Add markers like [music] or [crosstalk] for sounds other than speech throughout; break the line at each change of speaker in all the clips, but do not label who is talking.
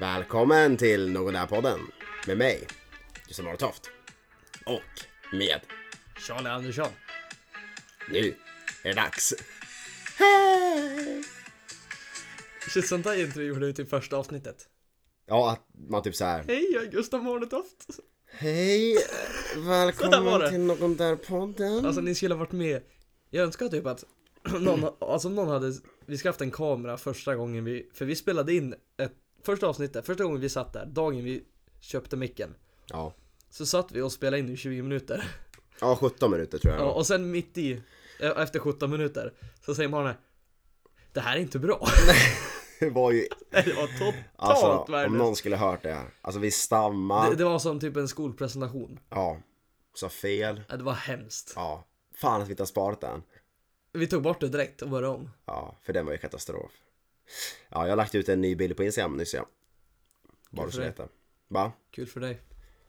Välkommen till Någon Där-podden med mig, Gustav Norrtoft. Och med,
Charlie Andersson.
nu är det dags.
Shit, sånt där intro gjorde vi till första avsnittet.
Ja, att man typ så här.
Hej, jag är Gustav Moletoft. [laughs]
Hej,
Så där var det.
välkommen till Någon Där-podden.
Alltså ni skulle ha varit med. Jag önskar typ att [clears throat] någon, alltså om någon hade, vi ska haft en kamera första gången vi, för vi spelade in ett, första avsnittet, första gången vi satt där, dagen vi köpte micken.
Ja.
Så satt vi och spelade in i 20 minuter.
ja, 17 minuter tror jag.
Ja, och sen mitt i, eh, efter 17 minuter, så säger man Det här är inte [laughs] bra.
Det var ju,
det var totalt
alltså om
värdelöst.
någon skulle hört det. här. Alltså vi stammar,
Det, det var som typ en skolpresentation.
ja, sa fel,
Ja, Det var hemskt.
ja. Fan att vi inte har sparat den.
Vi tog bort det direkt och började om.
Ja, för den var ju katastrof. Ja, jag har lagt ut en ny bild på Instagram nyss ja. Bara
Kul
så
för
du
dig.
vet det. Va?
Kul för dig.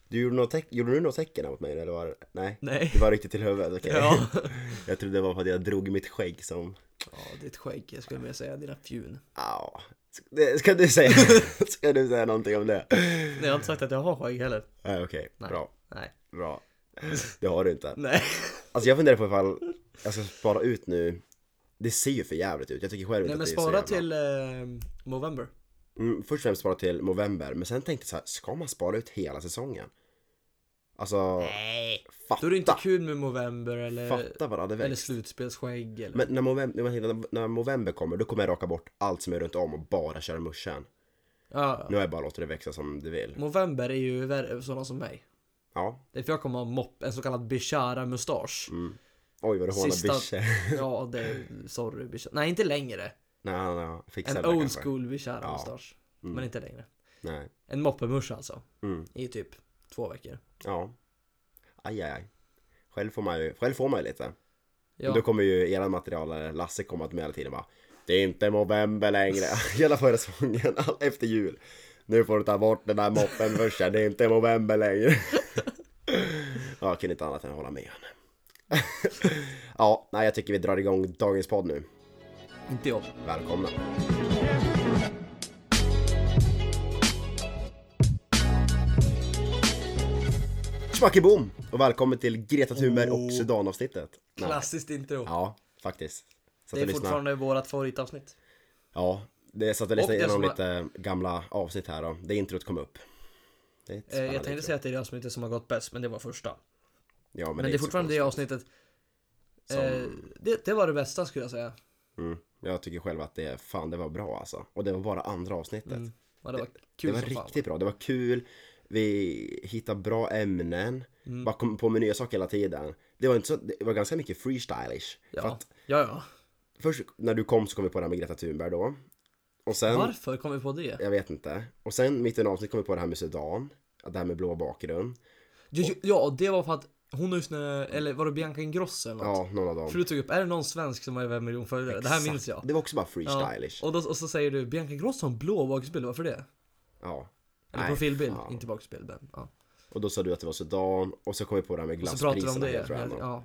Du gjorde, något teck- gjorde du något tecken här mot mig eller var det- Nej?
Nej.
Det var riktigt till huvudet, okej.
Ja.
[laughs] Jag trodde det var för att jag drog mitt skägg som...
ja, ditt skägg. Jag skulle mer säga dina fjun.
Ja. Det- Ska du säga,
[laughs]
ska du säga någonting om det?
Nej, jag har inte sagt att jag har skägg heller.
Nej, okej.
Nej.
Bra.
Nej.
Bra. Det har du inte.
Nej.
Alltså jag funderar på ifall jag ska spara ut nu. Det ser ju för jävligt ut. Jag tycker själv inte
Nej, men
att det är så
spara
jävla...
till eh, Movember.
Mm, först och främst spara till november, men sen tänkte jag så här, ska man spara ut hela säsongen? Alltså,
Nej.
fatta!
Då är det inte kul med Movember eller,
Fatta vad det hade
eller
växt.
slutspelsskägg eller...
Men när november, när, när november kommer, då kommer jag raka bort allt som är runt om och bara köra muschen.
Ja.
Nu har jag bara låtit det växa som det vill.
Movember är ju värre för sådana som mig.
Ja,
Det är för jag kommer ha mopp, en så kallad bishara-mustasch.
Mm. oj vad du hånar
Sista-
Bische.
Ja, det är... Sorry, bishara. Nej, inte längre.
[laughs] Nej, han har fixat
En
det där
old
kanske.
school bishara-mustasch. Men inte längre.
Nej,
En moppemusch alltså.
Mm.
I typ två veckor.
ja. Aj, aj, aj. Själv får man ju, själv får man ju lite.
Ja.
Då kommer ju eran materialare Lasse komma till mig hela tiden och bara Det är inte november längre. [laughs] Hela förra säsongen, all- efter jul. Nu får du ta bort den där moppen först, det är inte november längre. [laughs] ja, jag kunde inte annat än hålla med honom. [laughs] ja, nej jag tycker vi drar igång dagens podd nu.
Inte jag.
Välkomna. Tjmackiboom! Och välkommen till Greta Thunberg och Sudan-avsnittet. Nej.
Klassiskt intro.
Ja, faktiskt. Satt
det är
och lyssnade.
fortfarande vårat favoritavsnitt. Eh,
Ja, det satt och lyssnade
Och det
igenom
som
lite gamla avsnitt här då. Det introt kom upp. Det är ett
Eh, jag
spännande
tänkte
intro.
säga att det är det avsnittet som har gått bäst, men det var första. Men,
Ja, men,
det, är fortfarande det avsnittet. Eh, det, det var det bästa skulle jag säga.
Mm. Jag tycker själv att det, fan det var bra alltså. Och det var bara andra avsnittet.
Ja, det var
Det
Mm. kul
var
som fan.
riktigt bra, det var kul. Vi hittade bra ämnen.
Mm.
Bara kom på med nya saker hela tiden. Det var, inte så, det var ganska mycket freestylish. För
Ja.
att
ja, ja.
först när du kom så kom vi på det här med Greta Thunberg då. Och sen,
Varför kom vi på det?
jag vet inte. Och sen mitt i en avsnitt kom vi på det här med Sudan. Det här med blå bakgrund.
Jo, jo, ja, det var för att hon har just nu, eller var det Bianca Ingrosso eller något?
Ja, någon av dem.
För du tog upp, är det någon svensk som har över en miljon följare? Det här
Exakt.
minns jag.
Det var också bara
Ja.
freestylish. Ja.
Och, då, och så säger du Bianca Ingrosso har en blå bakbild, varför det? Eller
Nej,
profilbild,
fan.
inte bakbild. Men, ja.
Och då sa du att det var Sudan och så kom vi på det här med
Så pratar vi om
glasspriserna.
det.
helt random. Ja.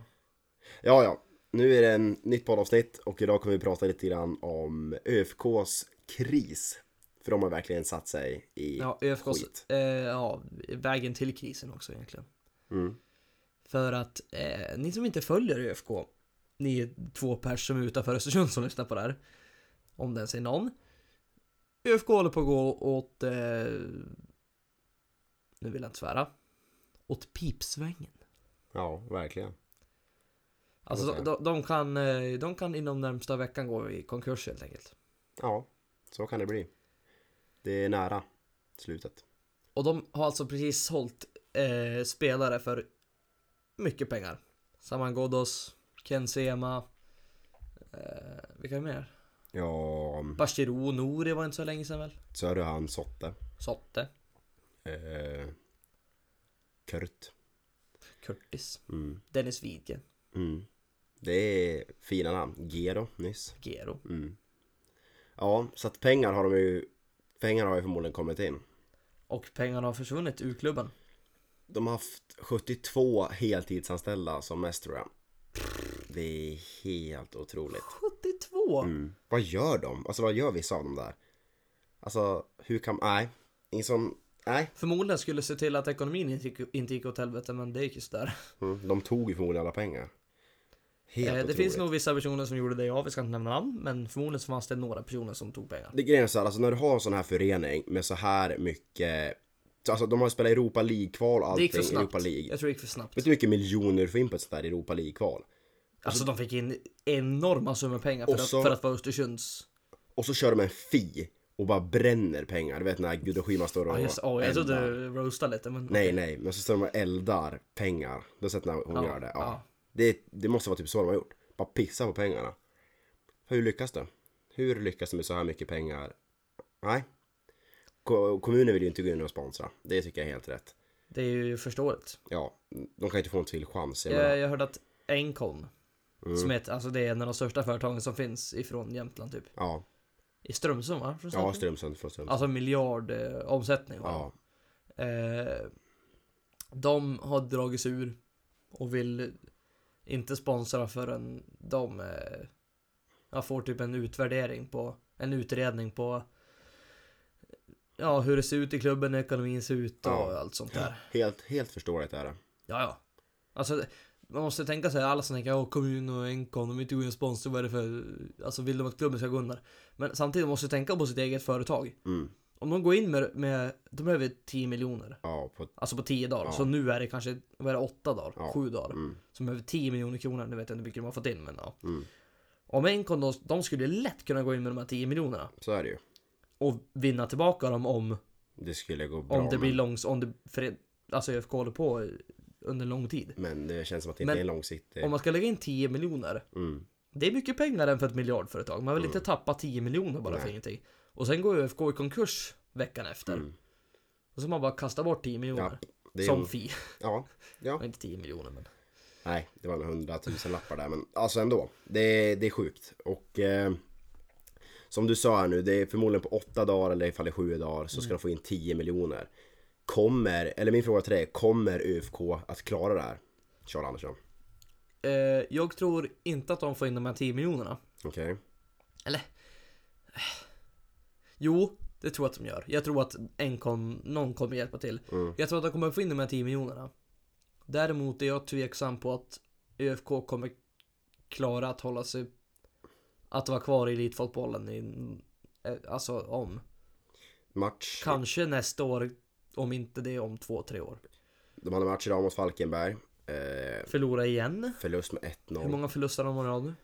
ja,
Ja.
ja. Nu är det en nytt poddavsnitt och idag kommer vi prata lite grann om ÖFKs kris. För de har verkligen satt sig i...
Ja, ÖFKs,
Skit.
eh, ja, vägen till krisen också egentligen.
Mm.
För att eh, ni som inte följer ÖFK, ni är två pers som är utanför Östersund som lyssnar på det här. Om den säger någon. ÖFK håller på att gå åt, eh, nu vill jag inte svära, åt pipsvängen.
ja verkligen.
Alltså
Okej.
de, de, kan, eh, de kan inom närmsta veckan gå i konkurs helt enkelt.
Ja, så kan det bli. Det är nära slutet.
Och de har alltså precis sålt eh, spelare för mycket pengar. Saman Ghoddos, Ken Sema, eh, vilka mer?
Ja,
Bashiro Nouri var inte så länge sedan väl?
så är det han Sotte.
Sotte,
Eh, Kurt.
Curtis,
Mm.
Dennis Widgren,
Mm. Det är fina namn. Gero nyss.
Gero.
Mm. Ja, så att pengar har de ju Pengar har ju förmodligen kommit in
Och pengarna har försvunnit ur klubben.
De har haft 72 heltidsanställda som mest tror jag Det är helt otroligt
72!
mm. Vad gör de? Alltså vad gör vissa av dem där? Alltså hur kan, nej ingen som, nej.
Förmodligen skulle se till att ekonomin inte gick, inte gick åt helvete, men det gick ju sådär.
Mm, de tog ju förmodligen alla pengar. Helt
Eh, det
otroligt.
finns nog vissa personer som gjorde det, ja, vi ska inte nämna namn, men förmodligen så fanns det några personer som tog pengar.
Det grejen är så här, alltså när du har en sån här förening med så här mycket, alltså de har ju spelat Europa League-kval och
Det
allting.
gick för snabbt.
Europa League.
Jag tror det gick för snabbt.
Vet du hur mycket miljoner du får in på ett sånt där Europa League-kval?
Alltså de fick in enorma summor pengar för,
Och så-
att, för att vara Östersunds.
Och så kör de en fi och bara bränner pengar. Du vet när Gudrun Schyman står och
Ja, just, oh, jag trodde
eldar.
du roastade lite men
Nej, nej, men så står de och eldar pengar. Du har sett när hon
Ja,
gör det? Ja.
ja.
det? Det måste vara typ så de har gjort. Bara pissa på pengarna. Hur lyckas det? Hur lyckas det med så här mycket pengar? Nej. Ko- Kommunen vill ju inte gå in och sponsra. Det tycker jag är helt rätt.
det är ju förståeligt.
Ja, de kan ju inte få en till chans. Jag menar,
Jag, jag hörde att Engcon,
Mm.
som är ett, alltså det är en av de största företagen som finns ifrån Jämtland typ.
ja,
I Strömsund va?
ja,
Från Strömsund?
Strömsund från Strömsund.
Alltså en miljard eh, omsättning. va?
Ja,
Eh, de har dragits ur och vill inte sponsra förrän de eh, ja, får typ en utvärdering på, en utredning på ja, hur det ser ut i klubben, hur ekonomin ser ut och
Ja.
allt sånt där.
helt, helt förståeligt är det.
Ja, ja. Alltså, man måste tänka sig, alla som tänker åh kommun och Encon, de vill inte gå in och sponsra, vad är det för, alltså vill de att klubben ska gå under? Men samtidigt måste du tänka på sitt eget företag.
Mm.
Om de går in med, med de behöver 10 miljoner.
Ja, på,
Alltså på 10 dagar.
Ja.
Så nu är det kanske, vad är det, 8 dagar?
Ja.
7 dagar.
mm,
Som behöver 10 miljoner kronor. Nu vet jag inte hur mycket de har fått in men ja.
mm.
Om Encon då, de skulle ju lätt kunna gå in med de här 10 miljonerna.
Så är det ju.
Och vinna tillbaka dem om,
Det skulle gå bra.
om det blir
men-
långs, om det, för, alltså ÖFK håller på under lång tid.
Men det känns som att det
Men
inte är långsiktigt.
Om man ska lägga in 10 miljoner.
Mm.
Det är mycket pengar än för ett miljardföretag. Man vill inte tappa 10 miljoner bara för
Nej.
ingenting. Och sen går ÖFK i konkurs veckan efter.
Mm.
Och så man bara kastar bort 10 miljoner.
Det är
som
en-
fi. [laughs]
Ja, ja.
Inte 10 miljoner men.
Nej, det var en hundratusen lappar där. Men alltså ändå. Det, det är sjukt. Och eh, som du sa här nu, det är förmodligen på åtta dagar eller ifall det är sju dagar så
Mm.
ska de få in 10 miljoner. Kommer, eller min fråga till dig, kommer ÖFK att klara det här? Charles Andersson.
Eh, jag tror inte att de får in de här 10 miljonerna.
Okej.
Eller? eh, Jo, det tror jag att de gör. Jag tror att en kom, någon kommer hjälpa till.
Mm.
Jag tror att de kommer få in de här 10 miljonerna. Däremot är jag tveksam på att ÖFK kommer klara att hålla sig att vara kvar i elitfotbollen i, eh, alltså om
Match.
kanske nästa år om inte det är om två, tre år.
De hade match idag mot Falkenberg. Eh,
Förlora igen.
förlust med 1-0.
Hur många förluster har de i rad nu?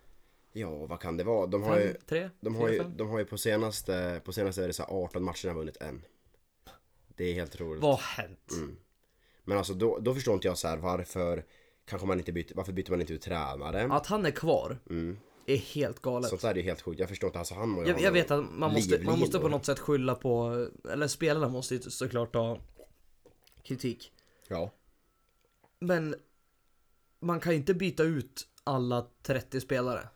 Ja, vad kan det vara? De har ju,
Fem, tre,
de har
fyra,
ju,
fem?
de har ju på senaste, på senaste är det så här 18 matcherna vunnit en. Det är helt roligt.
Vad har hänt?
Mm. Men alltså då, då förstår inte jag så här varför kanske man inte byter, varför byter man inte ut tränare?
Att han är kvar
Mm.
är helt galet.
Sånt där är ju helt sjukt, jag förstår inte, alltså han må ju
Jag,
ha
jag
någon-
vet att man måste, man måste på
livlinor.
något sätt skylla på, eller spelarna måste ju såklart ta kritik.
Ja,
Men man kan ju inte byta ut alla 30 spelare.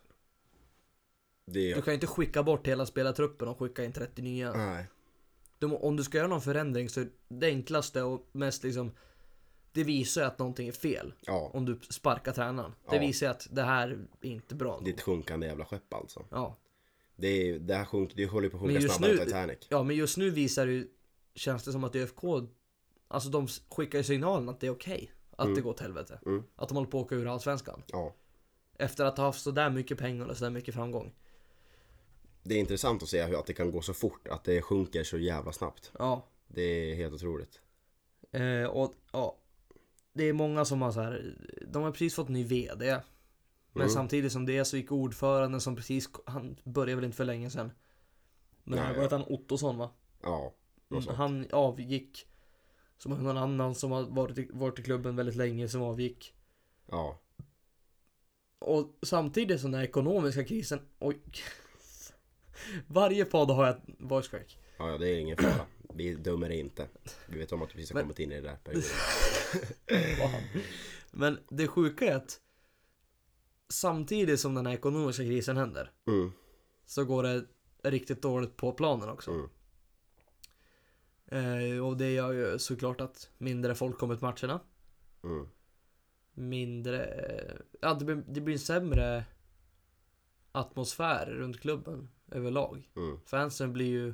det
Du kan ju inte skicka bort hela spelartruppen och skicka in 30 nya.
Nej,
Du, må- om du ska göra någon förändring så är det enklaste och mest liksom det visar ju att någonting är fel.
ja,
Om du sparkar tränaren. Det
Ja.
visar ju att det här är inte bra.
det är ett sjunkande jävla skepp alltså.
Ja.
Det, är, det här sjunk, det håller ju på att sjunka
Men just
snabbare
nu-
än Titanic.
ja, men just nu visar det ju, känns det som att ÖFK, alltså de skickar ju signalen att det är okej. att det går åt helvete.
Mm.
Att de håller på att åka ur Allsvenskan.
Ja,
Efter att ha haft sådär mycket pengar och sådär mycket framgång.
det är intressant att se hur att det kan gå så fort, att det sjunker så jävla snabbt.
Ja.
Det är helt otroligt.
Eh, och ja. Det är många som har så här. de har precis fått ny VD. Men
Mm.
samtidigt som det så gick ordföranden som precis, han började väl inte för länge sedan. Men
Nej, ja.
han, vad hette han, Ottosson va?
Ja, något
Mm,
sånt.
han avgick. Som någon annan som har varit i, varit i klubben väldigt länge som avgick.
ja,
Och samtidigt som den här ekonomiska krisen, oj. Varje podd har jag ett voice crack.
ja, ja, det är ingen fara. Vi dömer inte. Vi vet om att du precis har
Men- Mm,
kommit in i det där perioden.
Fan. Men det sjuka är att samtidigt som den här ekonomiska krisen händer
Mm,
så går det riktigt dåligt på planen också.
Mm.
Eh, och det gör ju såklart att mindre folk kommer till matcherna.
mm.
Mindre, eh, ja det blir, det blir en sämre atmosfär runt klubben överlag.
Mm.
Fansen blir ju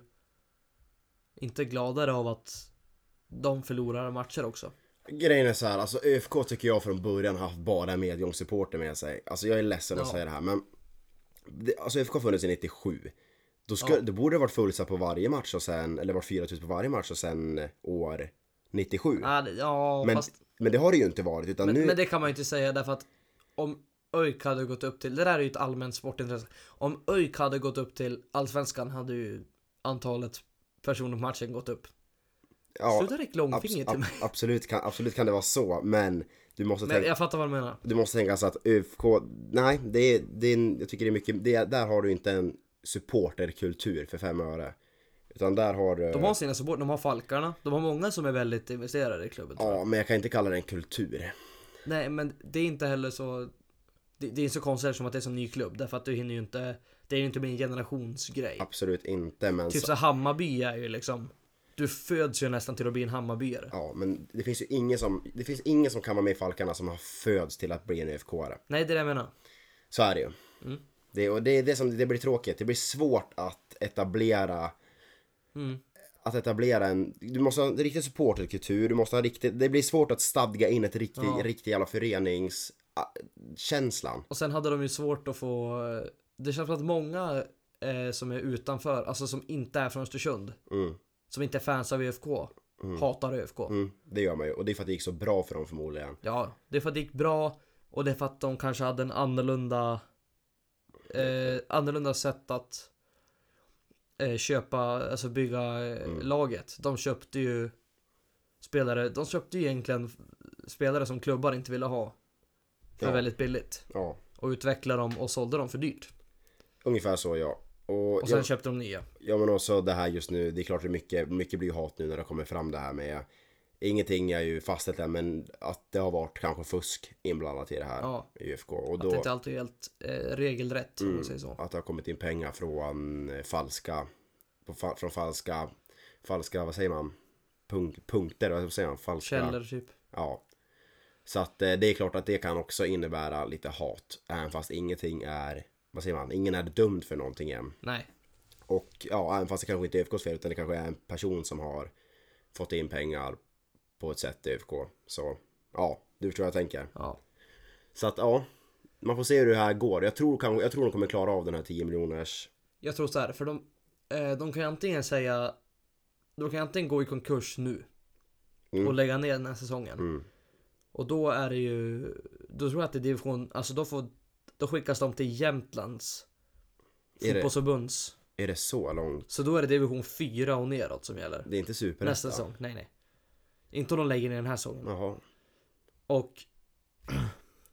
inte gladare av att de förlorar matcher också.
Grejen är så här, alltså ÖFK tycker jag från början har haft bara medgångssupporter med sig. Alltså jag är ledsen att
Ja.
säga det här men det, Alltså ÖFK har funnits sedan 97. Då, ska,
Ja.
då borde det varit fullsatt på varje match och sen, eller varit 4000 på varje match och sen eh, år 97.
Ja, det- Äh, ja
men,
fast
men det har det ju inte varit utan
Men,
nu,
men det kan man ju inte säga därför att om ÖIK hade gått upp till, det där är ju ett allmänt sportintresse. Om ÖIK hade gått upp till Allsvenskan hade ju antalet personer på matchen gått upp.
ja,
Sluta räcka långfingret
abs-
till mig.
ab- absolut, kan, absolut kan det vara så men du måste
Men
tänka
jag fattar vad du menar.
Du måste tänka så att UFK, nej, det är, det är, en- jag tycker det är mycket, det är, där har du inte en supporterkultur för fem öre. Utan där har du,
De har sina support, de har Falkarna, de har många som är väldigt investerade i klubben. tror jag.
ja men jag kan inte kalla det en kultur.
Nej men det är inte heller så, det, det är så konstigt som att det är så ny klubb därför att du hinner ju inte, det är ju inte min generationsgrej.
Absolut inte men,
Typ
så,
så Hammarby är ju liksom, du föds ju nästan till att bli en Hammarbyare.
ja, men det finns ju ingen som, det finns ingen som kan vara med i Falkarna som har föds till att bli en UFK-are.
Nej det är det jag menar.
Så är det ju.
Mm.
Det, och det är det som, det blir tråkigt, det blir svårt att etablera
Mm.
att etablera en, du måste ha en riktig supporterkultur, du måste ha riktigt, det blir svårt att stadga in ett riktigt,
Ja.
riktig jävla förenings a- känslan.
Och sen hade de ju svårt att få Det känns som att många eh, som är utanför, alltså som inte är från Östersund
Mm,
Som inte är fans av ÖFK Hatar ÖFK
mm, det gör man ju och det är för att det gick så bra för dem förmodligen.
Ja, det är för att det gick bra Och det är för att de kanske hade en annorlunda eh, Annorlunda sätt att eh, Köpa, alltså bygga eh,
Mm.
laget De köpte ju Spelare, de köpte ju egentligen Spelare som klubbar inte ville ha För
Ja.
väldigt billigt
Ja,
Och utvecklade dem och sålde dem för dyrt
ungefär så ja. Och,
Och sen
ja,
köpte de nya
ja men också det här just nu, det är klart det är mycket, mycket blir ju hat nu när det kommer fram det här med Ingenting är ju fastställt än men att det har varit kanske fusk inblandat i det här
Ja.
i UFK och
Att det
då Mm.
inte alltid är helt eh, regelrätt om man säger så.
att det har kommit in pengar från eh, falska på fa- från falska falska vad säger man Punk, punkter vad säger man falska
Källor typ.
ja så att eh, det är klart att det kan också innebära lite hat även fast ingenting är vad säger man ingen är dömd för någonting än
Nej.
och ja även fast det kanske inte är ÖFKs fel utan det kanske är en person som har fått in pengar på ett sätt i ÖFK så ja du förstår vad jag tänker
Ja.
så att ja man får se hur det här går jag tror kanske jag tror de kommer klara av den här 10 miljoners
Jag tror så här, för de, eh, de kan ju antingen säga De kan ju antingen gå i konkurs nu
Mm.
och lägga ner den här säsongen.
Mm.
Och då är det ju Då tror jag att det är division, alltså då får Då skickas de till Jämtlands
Är det-
fotbollsförbunds.
Är det så långt?
Så då är det division 4 och neråt som gäller.
Det är inte superettan?
Nästa säsong. Nej nej. Inte om de lägger ner den här säsongen.
Jaha.
Och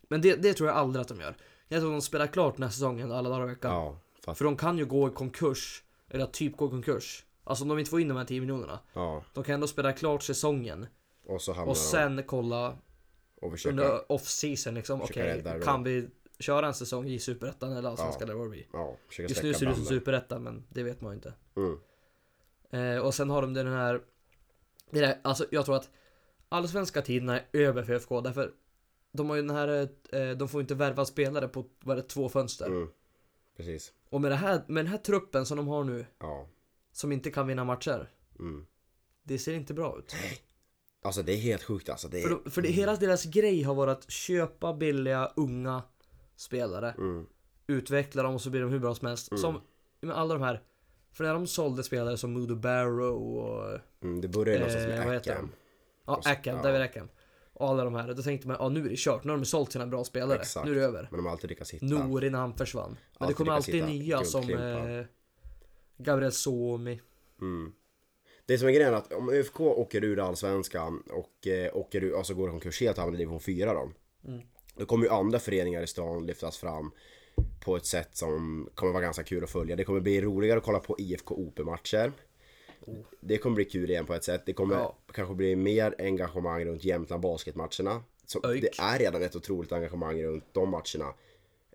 Men det, det tror jag aldrig att de gör Jag tror de spelar klart den här säsongen alla dagar i veckan
Ja, fast,
För de kan ju gå i konkurs Eller typ gå i konkurs Alltså om de inte får in de här 10 miljonerna
ja.
De kan ändå spela klart säsongen
Och så hamnar
Och sen kolla
de och försöker.
under off-season liksom
försöka
Okej,
rädda det.
kan vi köra en säsong i Superettan eller Allsvenskan eller vad det blir?
Ja, försöker
Just nu
sträcka
ser det ut som
banden.
Superettan men det vet man ju inte
Mm.
eh, Och sen har de den här det där, Alltså jag tror att Allsvenska tiderna är över för FK därför De har ju den här eh, De får inte värva spelare på vad är det, två fönster
Mm. Precis.
Och med, det här, med den här truppen som de har nu
Ja.
Som inte kan vinna matcher
Mm.
Det ser inte bra ut
Alltså det är helt sjukt alltså. Det är...
För, de, för det, hela deras grej har varit att köpa billiga unga spelare
Mm.
Utveckla dem och så blir de hur bra som helst Som med alla de här För när de sålde spelare som Modo Barrow och
Mm, det börjar ju någonstans
Eh, vad
med
heter han?
Ackham.
Ja, Ackham, David Ackham. Och alla de här. Då tänkte man, ja nu är det kört. Nu har de sålt sina bra spelare.
Exakt.
Nu är det över.
Men de har alltid lyckats hitta.
Nori när han försvann. Men det
Alltid
kommer
lyckas
alltid
hitta
nya som
guldklimpar.
eh, Gabriel Suomi.
Det som är grejen är att om ÖFK åker ur allsvenskan och eh, åker ur, alltså går i konkurs helt och hamnar i division 4 då.
Mm.
Då kommer ju andra föreningar i stan lyftas fram på ett sätt som kommer vara ganska kul att följa. Det kommer bli roligare att kolla på IFK OP-matcher. Det kommer bli kul igen på ett sätt. Det kommer
Oh. Ja.
kanske bli mer engagemang runt Jämtland Basketmatcherna. Så
Öjk.
det är redan ett otroligt engagemang runt de matcherna.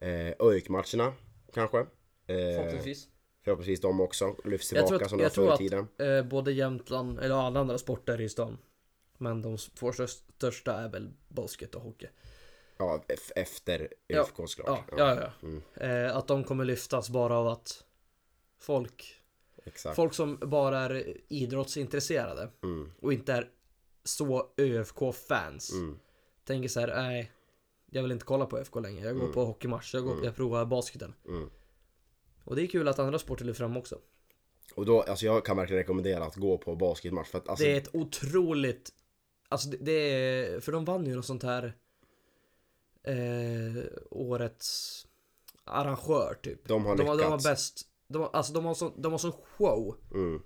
Eh, ÖIK-matcherna kanske. Eh, förhoppningsvis de också lyfts
Jag
tillbaka
tror att,
som de var
jag
förr
tror
i tiden.
att eh, både Jämtland, eller alla andra sporter i stan. Men de två störst- största är väl basket och hockey.
Ja, ef- efter
Ja,
ÖFK såklart.
Ja, ja, ja. Eh, att de kommer lyftas bara av att folk
Exakt.
Folk som bara är idrottsintresserade
Mm.
och inte är så ÖFK-fans.
Mm.
Tänker så här, nej, jag vill inte kolla på ÖFK längre. Jag går på hockeymatch, jag, går, jag provar basketen.
Mm.
Och det är kul att andra sporter lyfter fram också.
Och då, alltså jag kan verkligen rekommendera att gå på basketmatch för att alltså,
Det är ett otroligt... Alltså det, det är... För de vann ju något sånt här... Eh, årets arrangör typ.
de har
de, har-
lyckats.
de har bäst... De, har- alltså de har sån, de har sån show
mm.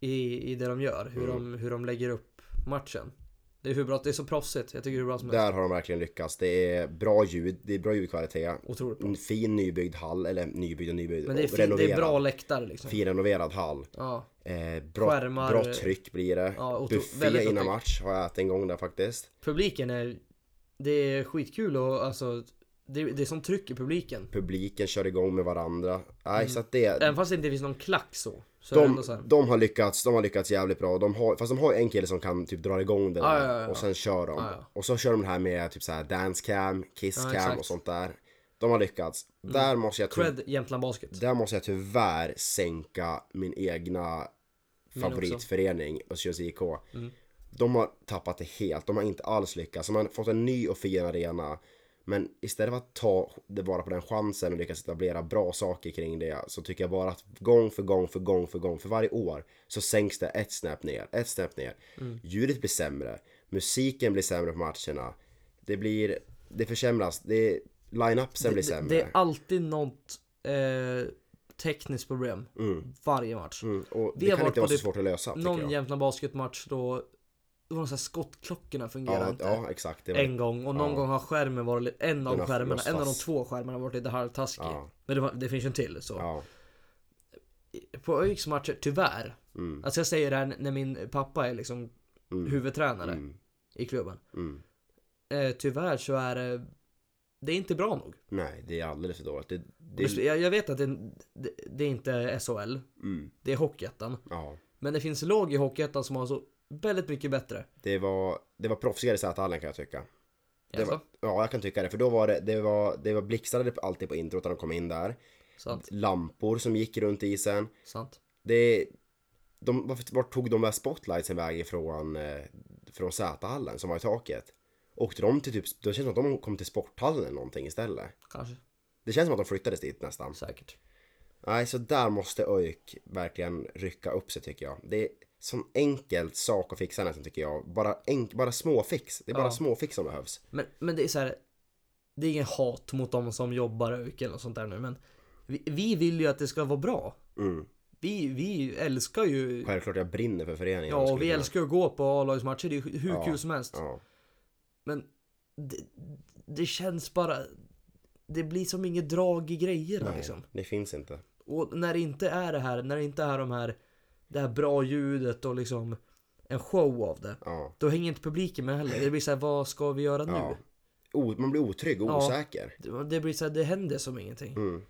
i, i det de gör. Hur, de, hur de lägger upp matchen. Det är hur bra... Det är så proffsigt. Jag tycker det är bra som helst.
Där har de verkligen lyckats. Det är bra ljud, det är bra ljudkvalitet.
Otroligt bra.
En fin nybyggd hall, eller nybyggd mm, och nybyggd.
Men det är, fin, det är
renoverad.
bra läktare liksom.
Finrenoverad hall.
Ja.
Eh, bra,
Skärmar.
bra tryck blir det.
Ja, otro-
Buffé
väldigt bra
innan
tryck.
match har jag ätit en gång där faktiskt.
Publiken är... Det är skitkul och alltså... Det, det är sånt tryck i publiken.
Mm. Publiken kör igång med varandra. Nej, så att det,
Mm. Även fast det inte finns någon klack så. Så är det
de,
ändå så här.
de har lyckats, de har lyckats jävligt bra. De har, fast de har ju en kille som kan typ dra igång det
Ah, Ja,
där
ja, ja, ja.
och sen kör de.
Ja, ja.
Och så kör de det här med typ så här dancecam,
Ja,
kisscam
exakt. Mm.
och sånt där. De har lyckats. Där måste jag ty-
Cred Jämtland Basket.
där måste jag tyvärr sänka min egna favoritförening, Östersjöns IK.
Mm.
De har tappat det helt, de har inte alls lyckats. De har fått en ny och fin arena. Men istället för att ta det bara på den chansen och lyckas etablera bra saker kring det så tycker jag bara att gång för gång för gång för gång för varje år så sänks det ett snäpp ner, ett snäpp ner.
Mm.
Ljudet blir sämre, musiken blir sämre på matcherna. Det blir, det försämras, det, line-upsen blir
det,
sämre.
det är alltid något eh, tekniskt problem. Varje match.
Mm, och
Vi
det
har
kan
varit
inte
på
vara så
typ
svårt att lösa tycker
Någon
jag.
Jämtland Basketmatch då, då var det så här skottklockorna fungerade
ja,
inte.
ja, exakt. Det var,
En gång och någon gång har skärmen varit li- en av
Den har
skärmarna,
låst
en av de
fast.
två skärmarna har varit lite halvtaskig.
Ja.
Men det, var, det finns ju en till så.
ja,
På ÖIKs matcher, tyvärr.
mm,
Alltså jag säger det här när min pappa är liksom huvudtränare i klubben.
Mm.
Eh, tyvärr så är det, det är inte bra nog.
nej, det är alldeles för dåligt. Det,
Det...
det,
Jag, jag vet att det, det, det är inte är SHL,
mm,
det är Hockeyettan.
ja,
Men det finns lag i Hockeyettan som har så väldigt mycket bättre.
det var, det var proffsigare i Z-hallen kan jag tycka. Det
Jaså?
var, ja, jag kan tycka det. För då var det, det var, det var blixtrade alltid på introt när de kom in där.
Sant,
Lampor som gick runt isen.
sant.
Det, de, varför, vart tog de där spotlightsen vägen ifrån eh, från Z-hallen som var i taket? Åkte de till typ, det känns som att de kom till sporthallen eller någonting istället.
Kanske,
Det känns som att de flyttades dit nästan.
säkert.
Nej, så där måste ÖIK verkligen rycka upp sig tycker jag. Det är sån enkel sak att fixa nästan tycker jag. Bara, enk- bara småfix. Det är bara
Ja.
småfix som behövs.
Men, men det är så här. Det är ingen hat mot de som jobbar i ÖIK eller något sånt där nu, men vi, vi vill ju att det ska vara bra.
Mm.
Vi, vi älskar ju,
Självklart jag brinner för föreningen. Jag
ja
skulle
och vi
kunna-
älskar ju att gå på A-lagsmatcher, det är ju hur
Ja,
kul som helst.
Ja.
Men det, det känns bara, det blir som inget drag i grejerna
Nej,
liksom.
det finns inte.
Och när det inte är det här, när det inte är de här, det här bra ljudet och liksom en show av det.
Ja.
Då hänger inte publiken med heller. Det blir så här, vad ska vi göra nu?
ja. O- man blir otrygg och
Ja.
osäker.
Det- Det blir så här, det händer som ingenting.
Mm.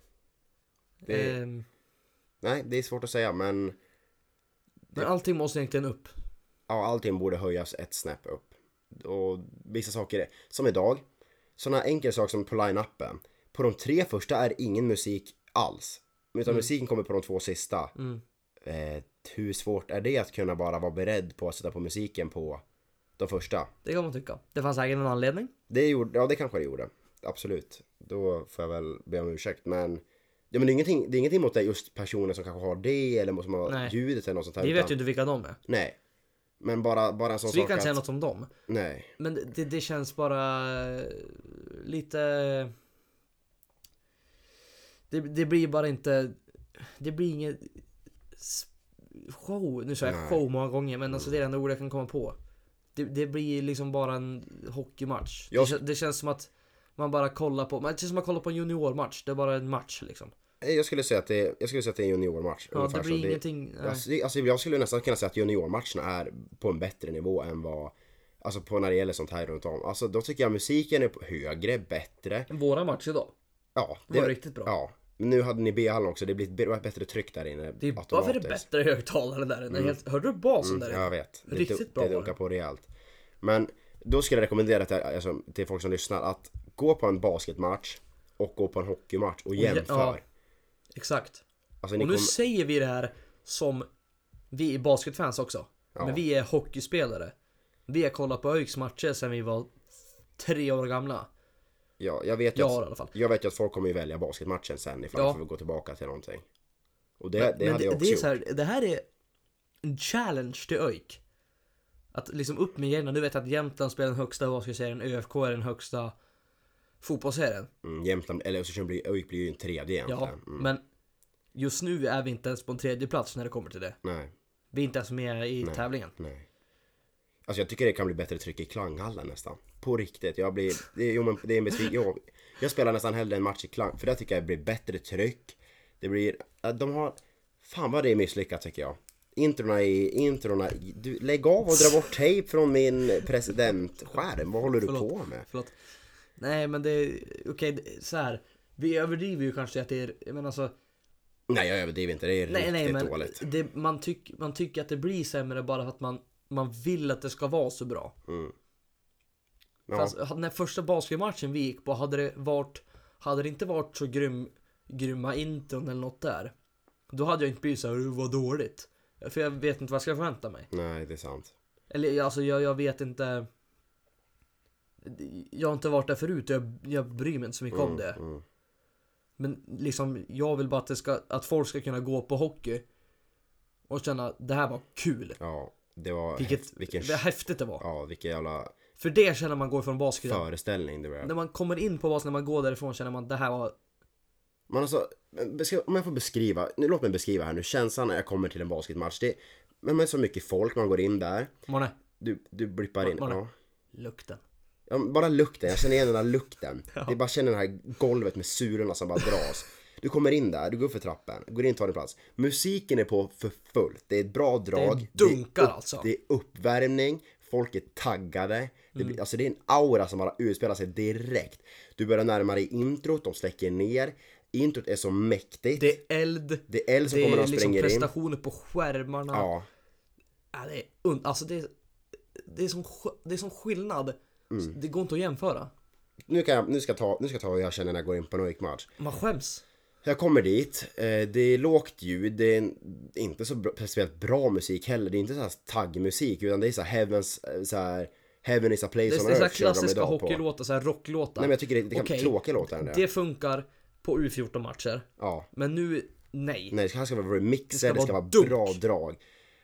Det-
Ehm,
Nej, det är svårt att säga men
men allting måste egentligen upp.
ja, allting borde höjas ett snäpp upp. Och vissa saker, är- som idag, sådana enkla saker som på line-upen. På de tre första är ingen musik alls. Utan musiken kommer på de två sista.
Mm.
Eh, hur svårt är det att kunna bara vara beredd på att sätta på musiken på de första?
Det kan man tycka. Det fanns säkert en anledning.
Det gjorde, ja det kanske det gjorde. Absolut. Då får jag väl be om ursäkt men Ja men det är ingenting, det är ingenting mot det just personer som kanske har det eller som har
Nej.
ljudet eller något sånt här.
Vi
utan-
vet ju inte vilka de är.
Nej. Men bara, bara en sån
Så vi
sak
kan inte säga
att,
något om dem.
Nej.
Men det, det känns bara eh, lite... Det, det blir bara inte... Det blir ingen s- show. Nu sa jag
Nej. Mm.
show många gånger men alltså det är det enda ord jag kan komma på. Det, det blir liksom bara en hockeymatch.
Jag-
Det, kän- det känns som att man bara kollar på... man- Det känns som att man kollar på en juniormatch. Det är bara en match liksom.
Nej, Eh, Jag skulle säga att det, jag skulle säga att det är en juniormatch.
Ja,
ungefär
det
så.
blir ingenting... nej.
Alltså, det- alltså, jag skulle nästan kunna säga att juniormatcherna är på en bättre nivå än vad Alltså på när det gäller sånt här runt om. Alltså då tycker jag musiken är på- högre, bättre.
Våra match idag
Ja,
var riktigt bra.
Ja. Nu hade ni B-hallen också, det blir ett b- bättre tryck där inne.
det är, varför är det bättre högtalare där? än Helt, hörde du basen där
Mm. Ja,
inne?
jag vet. Det,
Riktigt
Riktigt
bra
det
var det.
dunkar på rejält. Men då skulle jag rekommendera till, alltså, till folk som lyssnar att gå på en basketmatch och gå på en hockeymatch och jämför.
ja. Exakt.
Alltså, ni
Och nu
kommer,
säger vi det här som vi är basketfans också.
Ja.
Men vi är hockeyspelare. Vi har kollat på ÖIKs matcher sedan vi var tre år gamla.
Ja, jag vet ju
Jag
att-
har i alla fall.
Jag vet ju att folk kommer ju välja basketmatchen sen ifall
Ja.
vi får gå tillbaka till någonting. Och det, det hade
det,
jag också
det, är
gjort.
så här, det här är en challenge till ÖIK. Att liksom upp med grejerna. Du vet att Jämtland spelar den högsta basketserien, ÖFK är den högsta fotbollsserien.
Mm, Jämtland, eller Östersund blir, ÖIK blir ju en tredje
Ja,
egentligen. Mm.
men just nu är vi inte ens på en tredje plats när det kommer till det.
Nej,
Vi är inte ens med i tävlingen.
nej. Alltså jag tycker det kan bli bättre tryck i klanghallen nästan. På riktigt, jag blir... Det, jo men det är en besvikelse. Jo, jag spelar nästan hellre en match i klang, för där tycker jag det blir bättre tryck. Det blir... ja, De har... Fan vad det är misslyckat tycker jag. Introna i... Introna i... Du, lägg av och dra bort tejp från min presidentskärm. Vad håller du
Förlåt.
på med?
Förlåt. Nej, men det är okej, det- så här. Vi överdriver ju kanske att det är, jag menar alltså,
Nej jag överdriver inte, det är
nej,
riktigt
nej, men
dåligt.
det, man, tyck, man tycker att det blir sämre bara för att man, man vill att det ska vara så bra.
Mm. Ja.
För alltså, hade- när första basketmatchen vi gick på, hade det, varit, hade det inte varit så grym, grymma intron eller något där, då hade jag inte blivit såhär vad dåligt. För jag vet inte vad jag ska förvänta mig.
Nej, det är sant.
Eller alltså jag, jag vet inte. Jag har inte varit där förut och jag, jag bryr mig inte så mycket om det.
mm.
Men liksom jag vill bara att, det ska, att folk ska kunna gå på hockey och känna det här var kul.
Ja, det var...
Vilket,
vilken,
vad häftigt det var.
ja, vilken jävla
För det känner man går från basketen.
föreställning det var.
När man kommer in på basen, när man går därifrån känner man det här var
Men alltså, beskri- om jag får beskriva, nu, låt mig beskriva här nu, känslan när jag kommer till en basketmatch. Det är men med så mycket folk, man går in där,
Måne,
du, du blippar in.
Var- var det?
Ja.
lukten.
Ja, men bara lukten, jag känner igen den här
[laughs]
lukten. Det är bara känner det här golvet med sulorna som bara dras. Du kommer in där, du går upp för trappen, går in och tar din plats. Musiken är på för fullt, det är ett bra drag.
dunkar
det är
alltså.
Det är uppvärmning, folk är taggade. Det,
Mm.
blir- Alltså det är en aura som bara utspelar sig direkt. Du börjar närma dig introt, de släcker ner. Introt är så mäktigt. Det,
Det är eld.
är El som
Det
kommer
är
och
liksom
spränger in.
prestationer på skärmarna.
Ja,
Ja, det är und- alltså det är, det, är som, sk- det är som skillnad.
Mm.
Det går inte att jämföra.
nu, kan jag, nu, ska jag ta, nu ska jag ta vad jag känner när jag går in på en OIK-match.
Man skäms.
Jag kommer dit, eh, det är lågt ljud, det är en- inte så bra- speciellt bra musik heller, det är inte så här taggmusik utan det är så här heavens, eh, så här heaven is a place
Det är,
on
det är så här
earth körde de
klassiska
idag på. Nej
hockeylåtar, så här rocklåtar.
men jag tycker det, det kan
Okej,
tråkiga låtar än det.
Det funkar på U14-matcher.
Ja.
Men nu, nej.
Nej det här ska vara remixer,
Det
det
ska
ska
vara
vara,
dunk.
bra drag.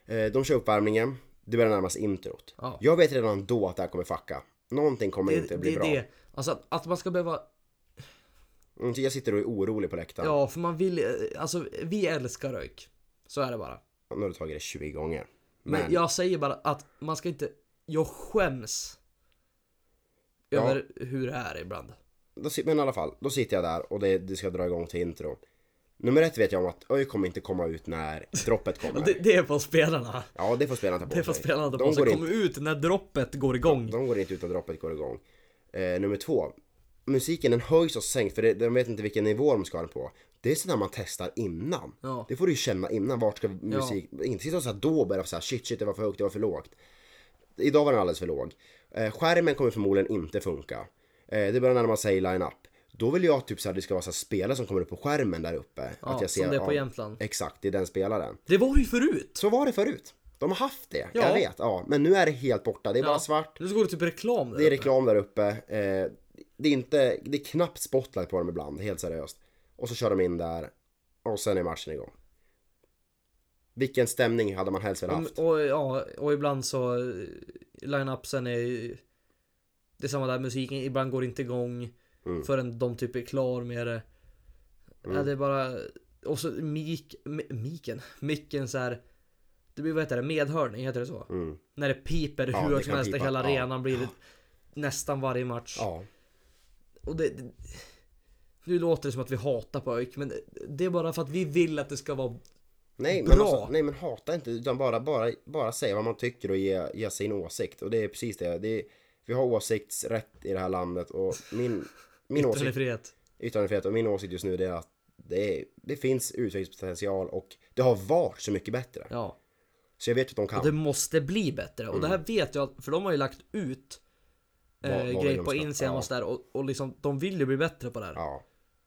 Eh, de kör uppvärmningen, det börjar närma sig introt.
Ja.
Jag vet redan då att det här kommer facka. Någonting kommer
det,
inte
det
bli
är
bra.
det. Alltså att, att man ska behöva,
Mm, så Jag sitter och är orolig på läktaren.
ja för man vill, eh, alltså vi älskar rök. Så är det bara.
Nu har du tagit det 20 gånger.
Men,
Men-
jag säger bara att man ska inte, jag skäms.
Ja.
Över hur det är ibland.
då, si- men i alla fall, då sitter jag där och det, det ska dra igång till intro. Nummer ett vet jag om att ÖIK kommer inte komma ut när
[laughs]
droppet kommer.
Det, det är på spelarna.
Ja, det får spelarna ta på
Det får
sig.
spelarna ta på
de,
sig.
går
Kom
inte,
ut när droppet går igång.
de går inte ut när droppet går igång. Eh, nummer två, musiken den höjs och sänks för det, de vet inte vilken nivå de ska ha den på. Det är sådär man testar innan.
Ja.
Det får du ju känna innan, vart ska musik... Inte sitta och såhär då och börja såhär shit shit det var för högt, det var för lågt. Idag var den alldeles för låg. Eh, skärmen kommer förmodligen inte funka. Eh, det börjar närma sig line-up. Då vill jag typ såhär det ska vara såhär spelare som kommer upp på skärmen där uppe.
Ja, som det är på Jämtland.
Exakt, det är den spelaren.
Det var ju förut!
Så var det förut. De har haft det,
Ja.
jag vet. Ja, men nu är det helt borta. Det är
Ja.
bara svart.
Nu så går det typ reklam där
Det är
uppe.
reklam där uppe. Eh, det, är inte, det är knappt spotlight på dem ibland, helt seriöst. Och så kör de in där och sen är matchen igång. Vilken stämning hade man helst velat haft?
Och, och, ja, och ibland så eh, line-upsen är ju- Det är samma där, musiken ibland går inte igång
Mm.
förrän de typ är klar med det. Ja, det är bara... Och så mik... mi- Miken? Micken så här. Det blir vad heter det? Medhörning, heter det så?
Mm.
När det piper hur
Ja, det
högt som
kan
helst i
pipa.
hela
Ja.
arenan blir det nästan varje match.
Ja.
Och det, det, nu låter det som att vi hatar på ÖIK, men det är bara för att vi vill att det ska vara...
Nej,
Bra.
men alltså, nej men hata inte utan bara, bara, bara säga vad man tycker och ge, ge sin åsikt. Och det är precis det. det är, vi har åsiktsrätt i det här landet och min, min åsikt
Yttrandefrihet.
yttrandefrihet och min åsikt just nu det är att det, är, det finns utvecklingspotential och det har varit så mycket bättre.
Ja.
Så jag vet att de kan.
Och det måste bli bättre. Och det här vet jag, för de har ju lagt ut eh,
Mm. Vad- vad vill
grejer
de
på
ska-
Instagram
ja.
och sådär. Och, och liksom, de vill ju bli bättre på det här.
Ja,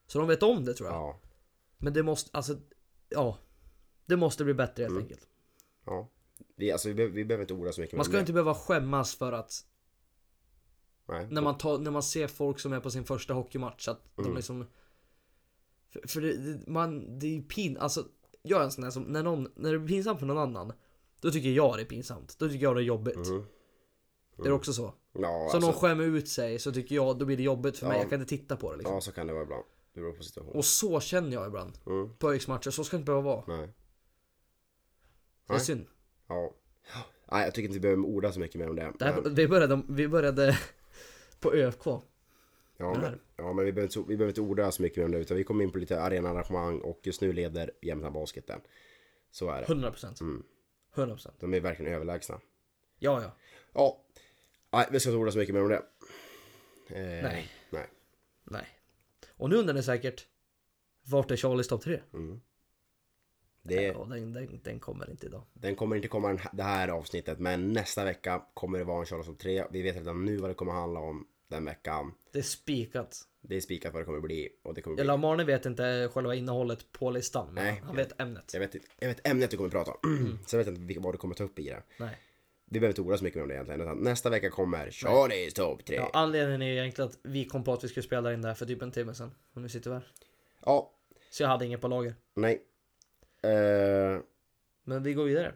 Så de vet om det tror jag.
ja.
Men det måste, alltså, ja. Det måste bli bättre
Mm.
helt enkelt.
Ja. Vi, alltså, vi, be- vi behöver inte orda så mycket
Man
om
ska
det.
inte behöva skämmas för att
Nej.
när man, tar, när man ser folk som är på sin första hockeymatch att
Mm.
de liksom För, för det, det- man, det är ju pin, alltså Jag är en sån där som, när, någon, när det är pinsamt för någon annan Då tycker jag det är pinsamt, då tycker jag det är jobbigt Är det också så?
Mm. Ja,
Så
alltså,
någon skämmer ut sig så tycker jag, då blir det jobbigt för mig, jag kan inte titta på det liksom
ja, så kan det vara ibland. Det beror på situation.
Och så känner jag ibland
Mm.
På ÖIS-matcher, så ska det inte behöva vara
Nej.
Det är synd
Ja. Nej, jag tycker inte vi behöver orda så mycket mer om det.
det här,
men,
vi, började, vi började [laughs] på ÖFK
ja, men, ja, men vi behöver, inte, vi behöver inte orda så mycket mer om det. Utan vi kommer in på lite arenaarrangemang och just nu leder Jämtland Basket den. Så är det.
100%
Mm.
100%
De är verkligen överlägsna.
Ja ja
Ja. Nej, vi ska inte orda så mycket mer om det. Eh,
Nej.
Nej.
Nej. Och nu undrar ni säkert, vart är Charlies topp 3?
Mm. Det,
Ja, den, den, den kommer inte idag.
Den kommer inte komma den här- det här avsnittet men nästa vecka kommer det vara en Charles Top 3. Vi vet redan nu vad det kommer handla om den veckan.
Det är spikat.
Det är spikat vad det kommer bli och det kommer bli...
Eller Marne vet inte själva innehållet på listan, men
Nej.
han vet ämnet.
Jag vet, jag vet ämnet du kommer prata om. [clears throat]
Mm.
Sen vet jag inte vilka- vad du kommer ta upp i det.
Nej.
Vi behöver inte orda så mycket om det egentligen. Utan nästa vecka kommer Charlies Top 3.
Ja,
Ja.
anledningen är egentligen att vi kom på att vi skulle spela in det här för typ en timme sedan. Och nu sitter vi här. Så jag hade inget på lager.
nej. Eh,
Men vi går vidare.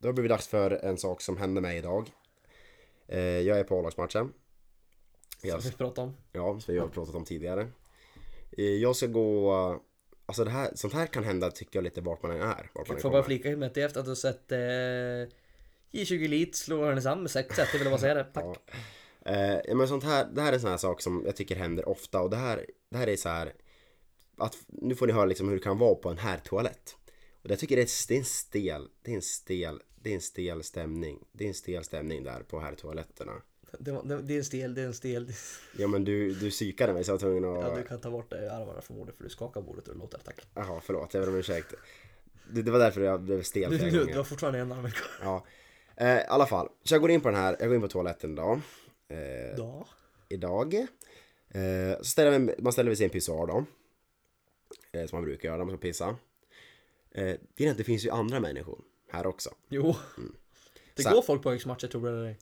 då blir det dags för en sak som hände mig idag. Eh, jag är på A-lagsmatchen. Jag-
Som vi pratade om.
Ja, som vi har pratat om tidigare. Eh, Jag ska gå... Alltså det här, sånt här kan hända tycker jag lite vart man än är. Vart man än
Får
kommer.
bara flika in med att det är efter att du har sett eh, J20 Elite slå Härnösand med 6-1. Jag vill bara säga det. Tack.
Ja. Eh, ja, men sånt här, det här är en sån här sak som jag tycker händer ofta och det här, det här är så här att nu får ni höra liksom hur det kan vara på en här toalett. Och jag tycker det är, det är en stel, det är en stel, det är en stel stämning. Det är en stel stämning där på här toaletterna.
Det, var, det, det är en stel, det är en stel.
Ja men du, du psykade mig så jag var tvungen att...
Ja, du kan ta bort eh, armarna från bordet för du skakar bordet och det låter. Tack.
Jaha, förlåt, jag ber om ursäkt. Det, det var därför jag blev stel
Du,
flera
du,
gånger.
du har fortfarande en arm kvar.
Ja. Eh, I alla fall, så jag går in på den här, jag går in på toaletten idag. Eh,
Ja.
idag. Eh, så ställer vi, man ställer sig i en pissoar då. Eh, som man brukar göra när man ska pissa. Eh, det, är, det finns ju andra människor här också.
Jo. Det
Mm. Så-
går folk på ÖIS-matcher tror du eller ej.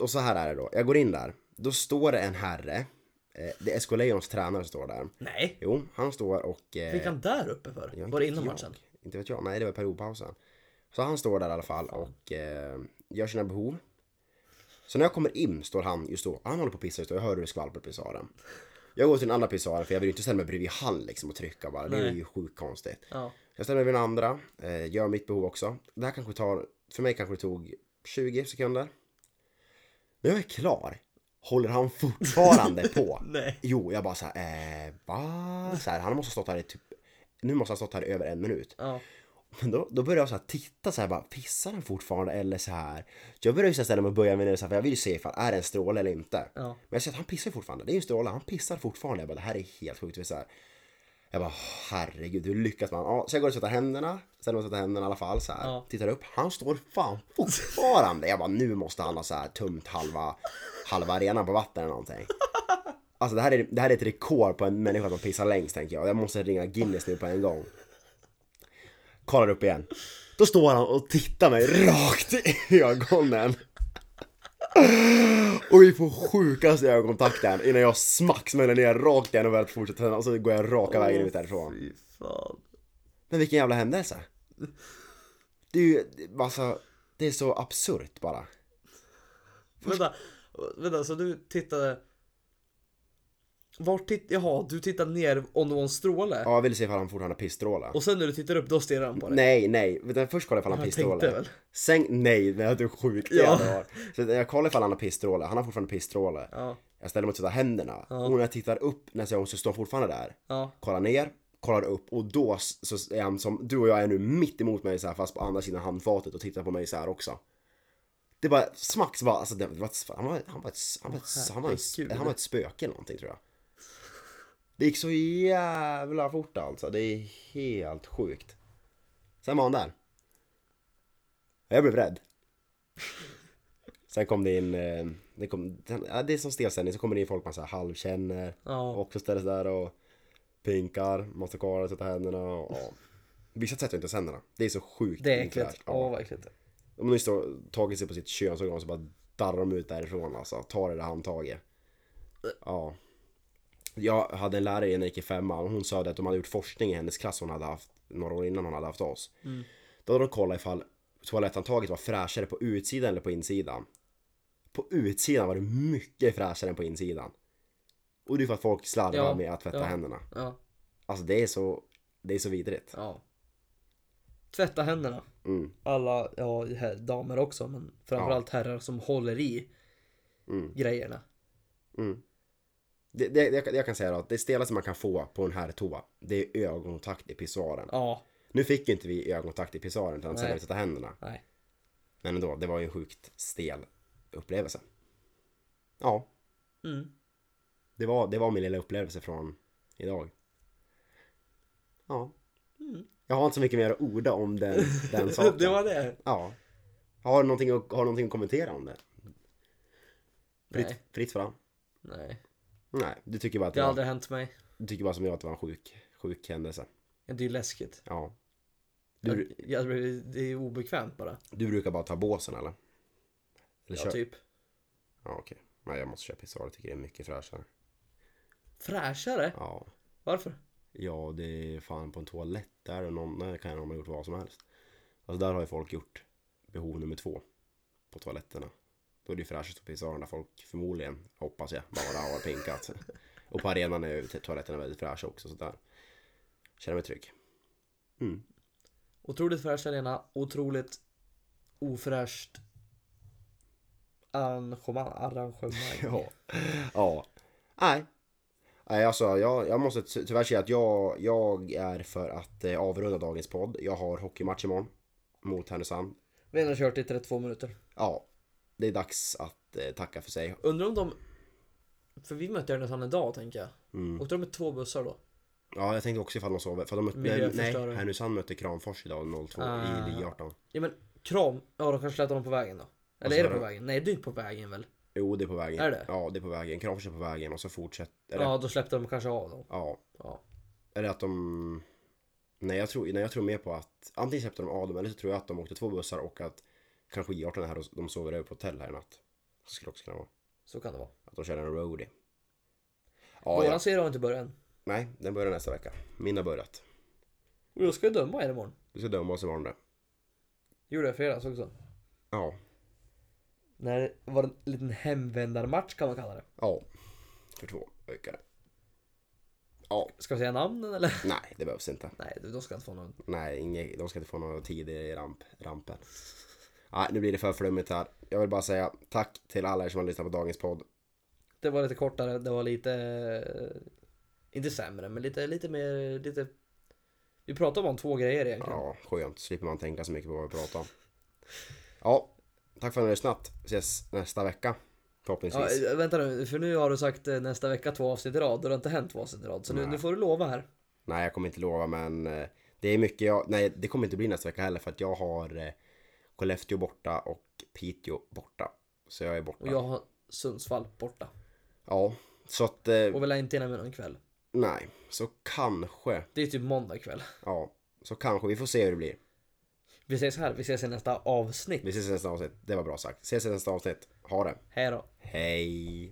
Och så här är det då, jag går in där. Då står det en herre. Eh, det är SK Lejons tränare som står där.
Nej.
Jo, han står och... eh,
Fick han där uppe för?
Ja, inte
Var det
vet
innan
jag.
matchen?
Inte vet jag, nej det var periodpausen. Så han står där i alla fall och eh, gör sina behov. Så när jag kommer in står han just då, han håller på att pissa just då, jag hör hur det skvalpar i pissoaren. Jag går till den andra pissoaren för jag vill ju inte ställa mig bredvid han liksom och trycka bara, det är
Nej.
ju sjukt konstigt.
Ja.
Jag ställer mig vid den andra, eh, gör mitt behov också. Det här kanske tar, för mig kanske det tog 20 sekunder. När jag är klar håller han fortfarande på.
Nej.
Jo, jag bara så här, eh, va? Så här, han måste ha stått här i typ, nu måste han ha stått här i över en minut.
Ja.
Men då, då började jag så här titta så här bara, pissar den fortfarande eller så här? Jag började ju så här ställa mig och böja mig ner så här, för jag vill ju se ifall är det en stråle eller inte.
Ja.
Men jag ser att han pissar fortfarande, det är ju en stråle, han pissar fortfarande. Jag bara, det här är helt sjukt. Det är Så här. Jag bara, herregud, hur lyckas man? Ja, så jag går och sätter händerna, ställer mig och sätter händerna i alla fall så här.
Ja.
Tittar upp, han står fan fortfarande. Jag bara, nu måste han ha så här tömt halva, halva arenan på vatten eller någonting. Alltså det här, är, det här är ett rekord på en människa som pissar längst tänker jag. Jag måste ringa Guinness nu på en gång. Kollar upp igen. Då står han och tittar mig rakt i ögonen. Och vi får sjukaste ögonkontakten innan jag smack smäller ner rakt igen och börjar fortsätta tända och så går jag raka vägen ut därifrån.
Fy fan.
Men vilken jävla händelse. Det är ju, alltså, det är så absurt bara.
Vänta. Vänta, så du tittade... Vart tittade... Jaha, du tittade ner om det var en stråle.
Ja, jag vill se ifall han fortfarande har pissstrålar.
Och sen när du tittar upp, då stirrar han på dig.
Nej, nej. Utan först kollar jag ifall han har
Jag tänkte
pissstrålar.
väl.
Sen, nej, nej du är sjuk. Det
Ja.
ja. Så jag kollar ifall han har pissstrålar. Han har fortfarande pissstrålar.
Ja.
Jag ställer mig och tittar händerna. Och när jag tittar upp nästa gång så står han fortfarande där.
Ja.
Kollar ner, kollar upp och då s- så är han som, du och jag är nu mitt emot mig så här fast på andra sidan handfatet och tittar på mig så här också. Det bara smack så bara, alltså det var, ett- han var, han var, ett, han var, ett, han var, ett,
herregud.
han var ett spöke eller någonting tror jag. Det gick så jävla fort alltså, det är helt sjukt. Sen var han där. Jag blev rädd. Sen kom det in, eh, det, kom, den- ja, det är som stelställning, så kommer det in folk man så här halvkänner.
Ja.
Också ställer sig där och pinkar, måste kvar och sätta händerna och ja. Vissa tvättar inte tänderna. Det är så sjukt
Det är
ofräscht.
äckligt.
Ja.
Åh vad äckligt.
De har nyss då tagit sig på sitt könsorgan så bara darrar de ut därifrån alltså. Tar det där handtaget. Ja. Jag hade en lärare när jag gick i femman och hon sa det att de hade gjort forskning i hennes klass hon hade haft några år innan hon hade haft oss.
Mm.
Då hade de kollat ifall toaletthandtaget var fräschare på utsidan eller på insidan. På utsidan var det mycket fräschare än på insidan. Och det är för att folk slarvar
Ja,
med att tvätta
ja.
händerna.
Ja.
Alltså det är så, det är så vidrigt.
ja. Tvätta händerna.
Mm.
Alla, ja här, damer också men framförallt herrar som håller i
Mm.
grejerna.
Det, det, jag, kan- jag kan säga då att det stelaste man kan få på en här toa det är ögonkontakt i pissoaren.
Ja.
Nu fick ju inte vi ögonkontakt i pissoaren utan sen
Nej.
när vi tvättade händerna.
Nej.
Men ändå, det var ju en sjukt stel upplevelse. Ja,
Mm.
det var, det var min lilla upplevelse från idag. Ja.
Mm.
Jag har inte så mycket mer att orda om
[laughs]
den, den saken.
det var det.
Ja. Har du någonting, att- har du någonting att kommentera om det? Fritt,
Nej.
fritt fram?
Nej.
Nej, du tycker bara att
Det
det
har
var,
aldrig hänt mig.
du tycker bara som jag att det var en sjuk, sjuk händelse.
Det är ju läskigt.
Ja. Du,
Jag, jag, det är obekvämt bara.
Du brukar bara ta båsen eller? eller
Ja,
kör-
typ.
Ja okej. Nej jag måste köra pissoar, jag tycker det är mycket fräschare.
Fräschare?
Ja.
Varför?
Ja det är fan på en toalett där och någon, där kan de ha gjort vad som helst. Alltså där har ju folk gjort behov nummer två. På toaletterna. Då är det ju fräschast på pissoaren där folk förmodligen, hoppas jag, bara har [laughs] pinkat. Och på arenan är ju toaletterna väldigt fräscha också så där. Känner mig trygg. Mm.
Otroligt fräsch arena, otroligt ofräscht arrangemang. arrangemang.
[laughs] Ja. Ja. Nej. Nej, alltså jag, jag måste ty- tyvärr säga att jag, jag är för att eh, avrunda dagens podd. Jag har hockeymatch imorgon mot Härnösand.
Vi har ändå kört i 32 minuter.
Ja, det är dags att eh, tacka för sig.
Undrar om de... För vi mötte Härnösand idag tänker jag.
Mm.
Åkte de med två bussar då?
Ja, jag tänkte också ifall de sover. För de mötte, nej, nej,
Miljöförstörare.
Härnösand mötte Kramfors idag 02
Ah.
i Liga 18.
Ja men Kram, ja de kanske släppte dem på vägen då? Eller
Vad sa
är det på
du?
vägen? Nej det är inte på vägen väl?
Jo, det är på vägen.
Är det?
Ja, det är på vägen. Kramfors är på vägen och så fortsätter det.
Ja då släppte de kanske av dem.
Ja.
Ja.
Eller att de... Nej jag, tror, nej jag tror mer på att antingen släppte de av dem eller så tror jag att de åkte två bussar och att kanske J18 är här och de sover över på hotell här i natt. Så skulle det också kunna vara.
Så kan det vara.
Att de kör en roadie. Ja,
Våran
ja.
serie har inte börjat än.
Nej, den börjar nästa vecka. Min har börjat.
Och jag ska ju döma er imorgon.
Du ska döma oss imorgon där.
Gjorde jag i fredags också.
Ja.
När det var en liten hemvändarmatch kan man kalla det.
Ja. För två veckor. Ja.
Ska vi säga namnen eller? [laughs]
Nej, det behövs inte.
Nej, du, då ska jag inte få någon.
Nej, inge, de ska inte få någon tid i ramp, rampen. Nej, nu blir det för flummigt här. Jag vill bara säga tack till alla er som har lyssnat på dagens podd.
Det var lite kortare, det var lite... eh, Inte sämre, men lite, lite mer... Lite... Vi pratade bara om två grejer egentligen.
Ja, skönt. Slipper man tänka så mycket på vad vi pratar om. Ja, tack för att ni har lyssnat. Ses nästa vecka.
Ja,
Förhoppningsvis.
eh, vänta nu, för nu har du sagt eh, nästa vecka två avsnitt i rad och det har inte hänt två avsnitt i rad. Så nu,
Nej.
nu får du lova här.
Nej, jag kommer inte lova men eh, det är mycket jag... Nej, det kommer inte bli nästa vecka heller för att jag har eh, Skellefteå borta och Piteå borta. Så jag är borta.
Och jag har Sundsvall borta.
Ja, så att... Eh,
Och vi lär inte hinna med någon kväll.
Nej, så kanske.
Det är typ måndag kväll. [laughs]
Ja, så kanske. Vi får se hur det blir.
Vi ses här, vi ses i nästa avsnitt.
Vi ses i nästa avsnitt. Det var bra sagt. Ses i nästa avsnitt. Ha det.
Hej då.
Hej!